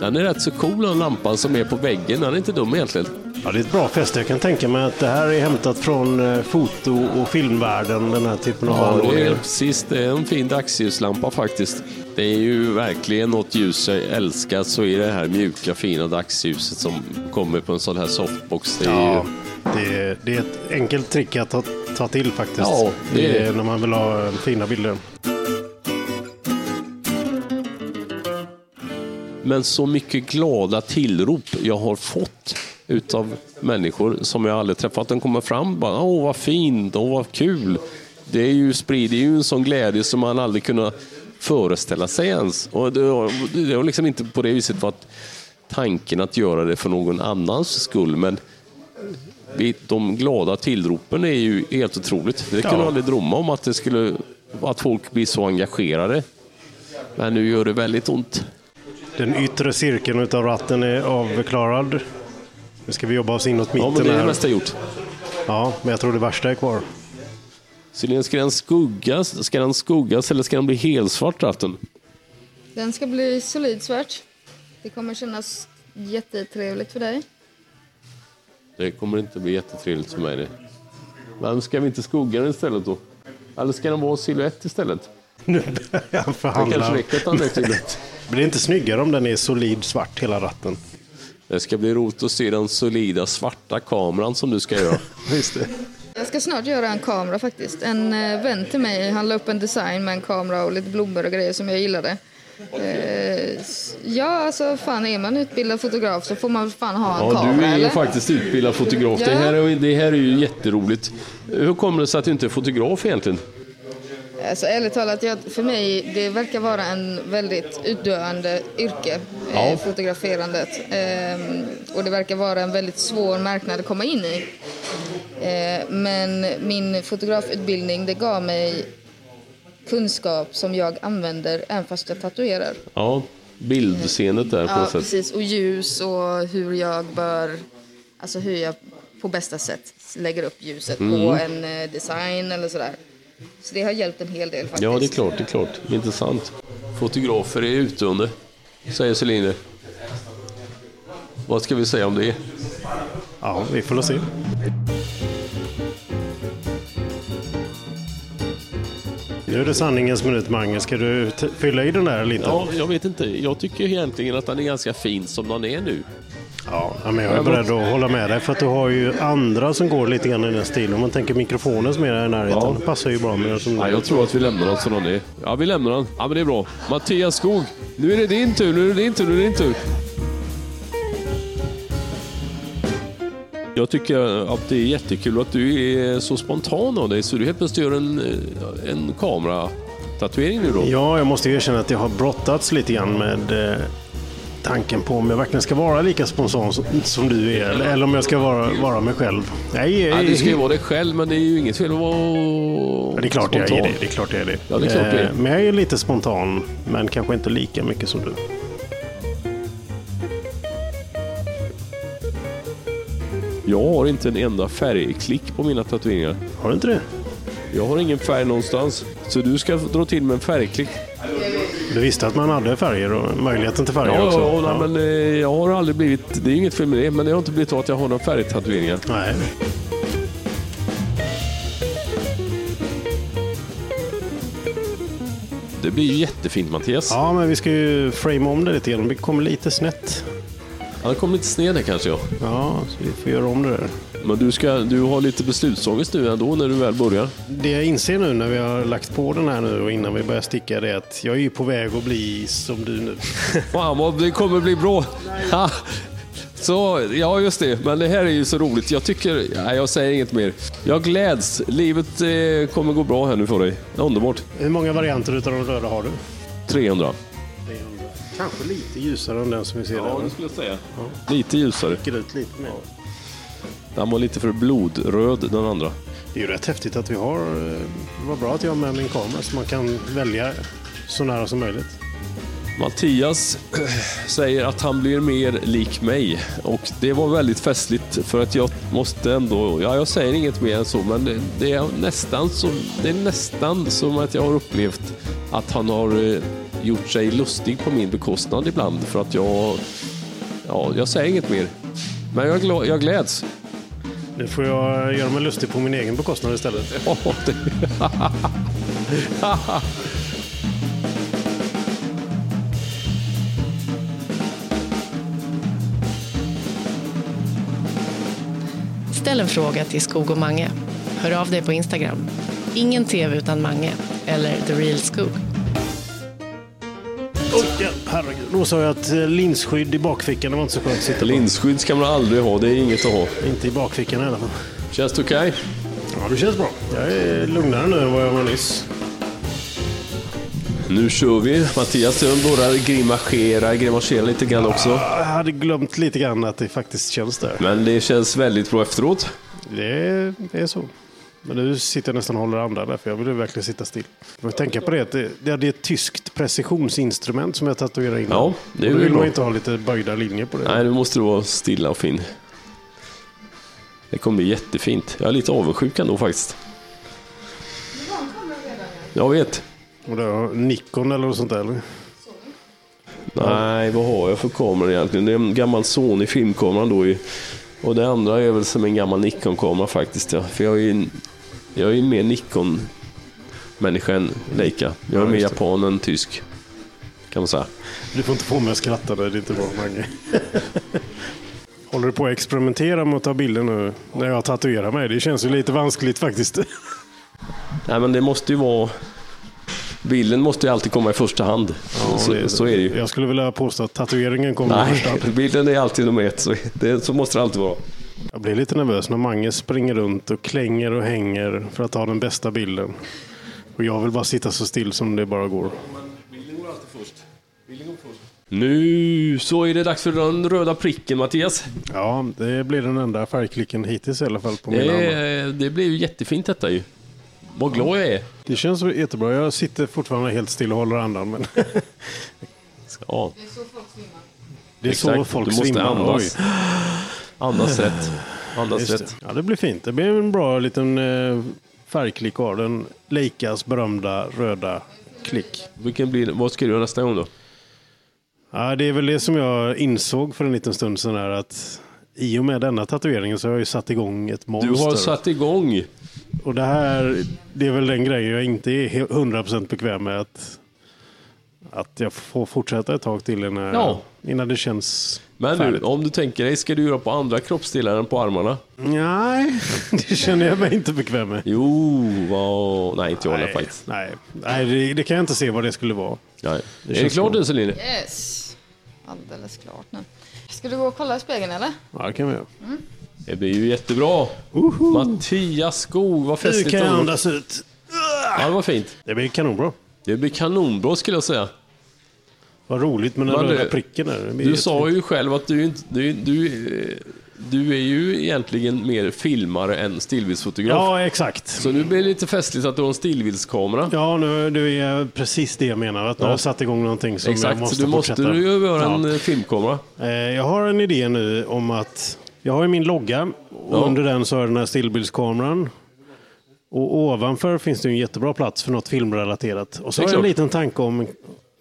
Den är rätt så cool den lampan som är på väggen. Den är inte dum egentligen.
Ja, det är ett bra fäste. Jag kan tänka mig att det här är hämtat från eh, foto och filmvärlden, den här typen av
Ja, det är
anordningar.
precis. Det är en fin dagsljuslampa faktiskt. Det är ju verkligen något ljus jag älskar så är det här mjuka fina dagsljuset som kommer på en sån här softbox. Det är
Ja,
ju...
det är, det är ett enkelt trick att ta, ta till faktiskt.
Ja, det
det
är-
är när man vill ha eh, fina bilder.
Men så mycket glada tillrop jag har fått utav människor som jag aldrig träffat. De kommer fram och bara åh vad fint, åh vad kul. Det är ju, sprider ju en sån glädje som man aldrig kunnat föreställa sig ens. Och det, har- det har liksom inte på det viset varit tanken att göra det för någon annans skull. Men vi- de glada tillropen är ju helt otroligt. Det kunde
Ja.
jag aldrig drömma om att, det skulle, att folk blir så engagerade. Men nu gör det väldigt ont.
Den yttre cirkeln utav ratten är avklarad. Nu ska vi jobba oss inåt mitten
Ja, men det är det
här.
mesta gjort.
Ja, men jag tror det värsta är kvar.
Cylindern, ska den skuggas? Ska den skuggas eller ska den bli helsvart ratten?
Den ska bli solid svart. Det kommer kännas jättetrevligt för dig.
Det kommer inte bli jättetrevligt för mig det. Men ska vi inte skugga den istället då? Eller ska den vara silhuett istället?
Nu börjar jag
Det
förhandla.
kanske räcker att den är silhuett.
Blir det inte snyggare om den är solid svart hela ratten?
Det ska bli roligt att se den solida svarta kameran som du ska göra.
Visst det.
Jag ska snart göra en kamera faktiskt. En eh, vän till mig, han la upp en design med en kamera och lite blommor och grejer som jag gillade. Eh, s- ja, alltså fan är man utbildad fotograf så får man väl fan ha en
Ja,
kamera
du är ju
eller?
faktiskt utbildad fotograf.
Ja.
Det, här är, det här är ju jätteroligt. Hur kommer det sig att du inte är fotograf egentligen?
Alltså, ärligt talat, jag, för mig det verkar vara en väldigt utdöende yrke,
Ja.
eh, fotograferandet. Ehm, och det verkar vara en väldigt svår marknad att komma in i. Eh, men min fotografutbildning det gav mig kunskap som jag använder även fast jag tatuerar.
Ja, bildscenet där på
Ja,
något sätt.
precis. Och ljus och hur jag bör... Alltså hur jag på bästa sätt lägger upp ljuset på en
Mm.
eh, design eller sådär. Så det har hjälpt en hel del faktiskt.
Ja, det är klart, det är klart. Intressant. Fotografer är utdöende, säger Celine. Vad ska vi säga om det?
Ja, vi får väl se. Nu är det sanningens minut Mange. Ska du t- fylla i den där eller inte?
Ja, jag vet inte. Jag tycker egentligen att den är ganska fin som den är nu.
Ja, men jag är beredd att hålla med dig för att du har ju andra som går lite grann i den stilen. Om man tänker mikrofonen som är där i närheten.
Ja.
Det passar ju bra med den som
Ja, jag tror att vi lämnar den som den är. Ja, vi lämnar den. Ja, men det är bra. Mattias Skog, nu är det din tur, nu är det din tur, nu är det din tur. Jag tycker att det är jättekul att du är så spontan av dig så du helt plötsligt gör en, eh, en kameratatuering nu då.
Ja, jag måste ju erkänna att jag har brottats lite grann med eh, tanken på om jag verkligen ska vara lika spontan som, som du är eller, eller om jag ska vara, vara mig själv. Nej,
Ja, du ska ju
eh,
vara dig själv, men det är ju inget fel att
Ja,
vara
det är klart jag är
spontan.
det. det, är klart jag är det.
Ja, det är klart det är.
Eh, Men jag är lite spontan, men kanske inte lika mycket som du.
Jag har inte en enda färgklick på mina tatueringar.
Har du inte det?
Jag har ingen färg någonstans. Så du ska dra till med en färgklick.
Du visste att man hade färger och möjligheten till färger
Ja,
också?
ja, nej, men eh, jag har aldrig blivit... Det är inget fel med det, men det har inte blivit så att jag har några färgtatueringar.
Nej.
Det blir ju jättefint Mattias.
ja, men vi ska ju frame om det lite grann. Vi kommer lite snett.
Han har kommit lite sned här kanske jag.
Ja, så vi får göra om det där.
Men du, ska, du har lite beslutsångest nu ändå när du väl börjar.
Det jag inser nu när vi har lagt på den här nu och innan vi börjar sticka det är att jag är ju på väg att bli som du nu.
Fan vad det kommer bli bra. Ha. Så, ja just det, men det här är ju så roligt. Jag tycker, nej jag säger inget mer. Jag gläds, livet eh, kommer gå bra här nu för dig. Underbart.
Hur många varianter utav de röda har du?
300.
Kanske lite ljusare än den som vi ser där.
skulle jag säga. Lite ljusare.
Sticker ut lite mer.
Den var lite för blodröd den andra.
Det är ju rätt häftigt att vi har... eh, Det var bra att jag har med min kamera så man kan välja så nära som möjligt.
Mattias eh, säger att han blir mer lik mig och det var väldigt festligt för att jag måste ändå, ja jag säger inget mer än så men det, det, är, nästan som, det är nästan som att jag har upplevt att han har eh, gjort sig lustig på min bekostnad ibland för att jag, ja jag säger inget mer. Men jag, glå- jag gläds.
Nu får jag göra mig lustig på min egen bekostnad istället.
Åh, det-
Ställ en fråga till Skog och Mange. Hör av dig på Instagram. Ingen TV utan Mange eller The Real Skog.
Oj, ja, herregud. Då sa jag att eh, linsskydd i bakfickan det var inte så skönt att sitta på.
Linsskydd ska man aldrig ha, det är inget att ha.
Inte i bakfickan i alla fall.
Känns det okej?
Ja, det känns bra. Jag är lugnare nu än vad jag var nyss.
Nu kör vi. Mattias den börjar grimasera, grimasera lite grann också.
Jag hade glömt lite grann att det faktiskt känns där.
Men det känns väldigt bra efteråt.
Det är, det är så. Men nu sitter jag nästan och håller andan där, för jag vill ju verkligen sitta still. Men att tänka på det, att det, det det är ett tyskt precisionsinstrument som jag tatuerade in.
Ja, det är
Då
väl
vill
bra.
man inte ha lite böjda linjer på det.
Nej, nu måste du vara stilla och fin. Det kommer bli jättefint. Jag är lite avundsjuk ändå faktiskt. Jag vet.
Och då, har Nikon eller något sånt där. eller?
Nej, vad har jag för kamera egentligen? Det är en gammal Sony filmkamera då. Ju. Och det andra är väl som en gammal Nikon-kamera faktiskt. Ja. För jag är ju jag är ju mer Nikon-människa än Leica. Jag är
Ja,
mer
just det.
japan än tysk. Kan man säga.
Du får inte få mig att skratta, det är inte bra Mange. Håller du på att experimentera med att ta bilder nu när jag tatuerar mig? Det känns ju lite vanskligt faktiskt.
Nej, men det måste ju vara... Bilden måste ju alltid komma i första hand. så, så är det ju.
Jag skulle vilja påstå att tatueringen kommer först.
Nej, bilden är alltid nummer ett. Så, det, så måste det alltid vara.
Jag blir lite nervös när Mange springer runt och klänger och hänger för att ta den bästa bilden. Och jag vill bara sitta så still som det bara går.
Nu så är det dags för den röda pricken Mattias.
Ja, det blir den enda färgklicken hittills i alla fall på min arm.
Det, det blir ju jättefint detta ju. Vad glad jag är.
Det känns så jättebra. Jag sitter fortfarande helt still och håller andan. Men
Ja,
det är så
exakt.
folk
du måste
svimmar.
andas.
Oj,
Andas rätt. Andas
just det.
rätt.
Ja, det blir fint. Det blir en bra liten eh, färgklick av den. Leikas berömda röda klick.
Vilken blir, vad ska du göra nästa gång då?
Ja, det är väl det som jag insåg för en liten stund sedan här att i och med denna tatueringen så har jag ju satt igång ett
Du
monster.
har satt igång.
Och det här, det är väl den grejen jag inte är he- 100% bekväm med. Att, att jag får fortsätta ett tag till innan,
Ja.
innan det känns
Men nu,
färdigt.
om du tänker dig, ska du göra på andra kroppsdelar än på armarna?
Nej, det känner jag mig inte bekväm med.
Jo, vad... Nej, inte jag heller
Nej,
faktiskt.
nej, nej det, det kan jag inte se vad det skulle vara.
Nej.
Det
är det
känns
klart
bra.
nu Celine?
Yes. Alldeles klart nu. Ska du gå och kolla i spegeln eller?
Ja, det kan vi göra.
Det blir ju jättebra. Mattias Skog, vad
Nu
festligt.
kan jag
område.
andas ut.
Ja, det var fint.
Det blir kanonbra.
Det blir kanonbra skulle jag säga.
Vad roligt med den
Men
röda
du-
pricken där. Det blir
Du
jätte-
sa ju själv att du inte... Du, du, eh, du är ju egentligen mer filmare än stillbildsfotograf.
Ja, exakt.
Så nu blir det lite festligt att du har en stillbildskamera.
Ja, nu, nu är jag precis det jag menar. Att nu har jag satt igång någonting som jag
Exakt,
måste
så du måste
fortsätta.
ju göra
Ja.
en eh, filmkamera.
Eh, Jag har en idé nu om att jag har ju min logga och
Ja.
under den så har jag den här stillbildskameran. Och ovanför finns det ju en jättebra plats för något filmrelaterat. Och så
Det är
har jag en
klart.
liten tanke om,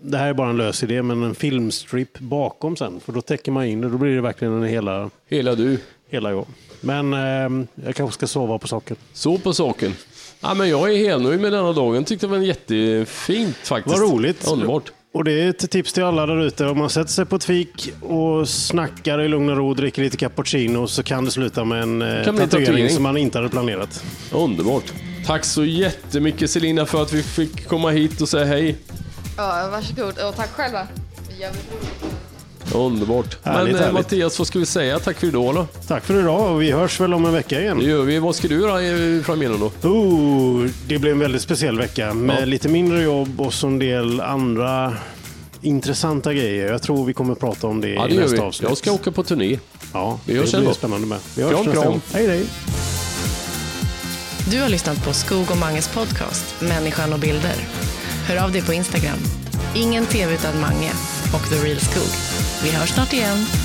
det här är bara en lös idé, men en filmstrip bakom sen. För då täcker man in det, då blir det verkligen en hela,
Hela du.
hela jag. Men eh, jag kanske ska sova på saken.
Så på saken. Ja, men jag är helnöjd med denna dagen. Tyckte det var jättefint faktiskt.
Vad roligt.
Underbart.
Och det är ett tips till alla där ute. Om man sätter sig på ett fik och snackar i lugn och ro och dricker lite cappuccino så kan det sluta med en eh,
Kan bli en
tatuering
tatuering.
som man inte hade planerat.
Underbart. Tack så jättemycket Selina för att vi fick komma hit och säga hej.
Ja, varsågod. Och tack själva. Jävligt roligt.
Underbart.
Härligt,
men eh,
härligt.
Mattias, vad ska vi säga? Tack för idag då.
Tack för idag och vi hörs väl om en vecka
Det
igen.
gör vi. Vad ska du göra eh, framöver då?
Oh, det blev en väldigt speciell vecka med
Ja.
lite mindre jobb och så en del andra intressanta grejer. Jag tror vi kommer prata om det
Ja, det
i
gör
nästa
vi.
avsnitt.
Jag ska åka på turné.
Ja,
Vi
det
hörs
blir
ändå.
spännande med. Vi hörs
Kram,
nästa
kram.
gång. Hej, hej.
Du har lyssnat på Skog och Manges podcast Människan och bilder. Hör av dig på Instagram. Ingen tv utan Mange och The Real Skog. Vi hörs snart igen.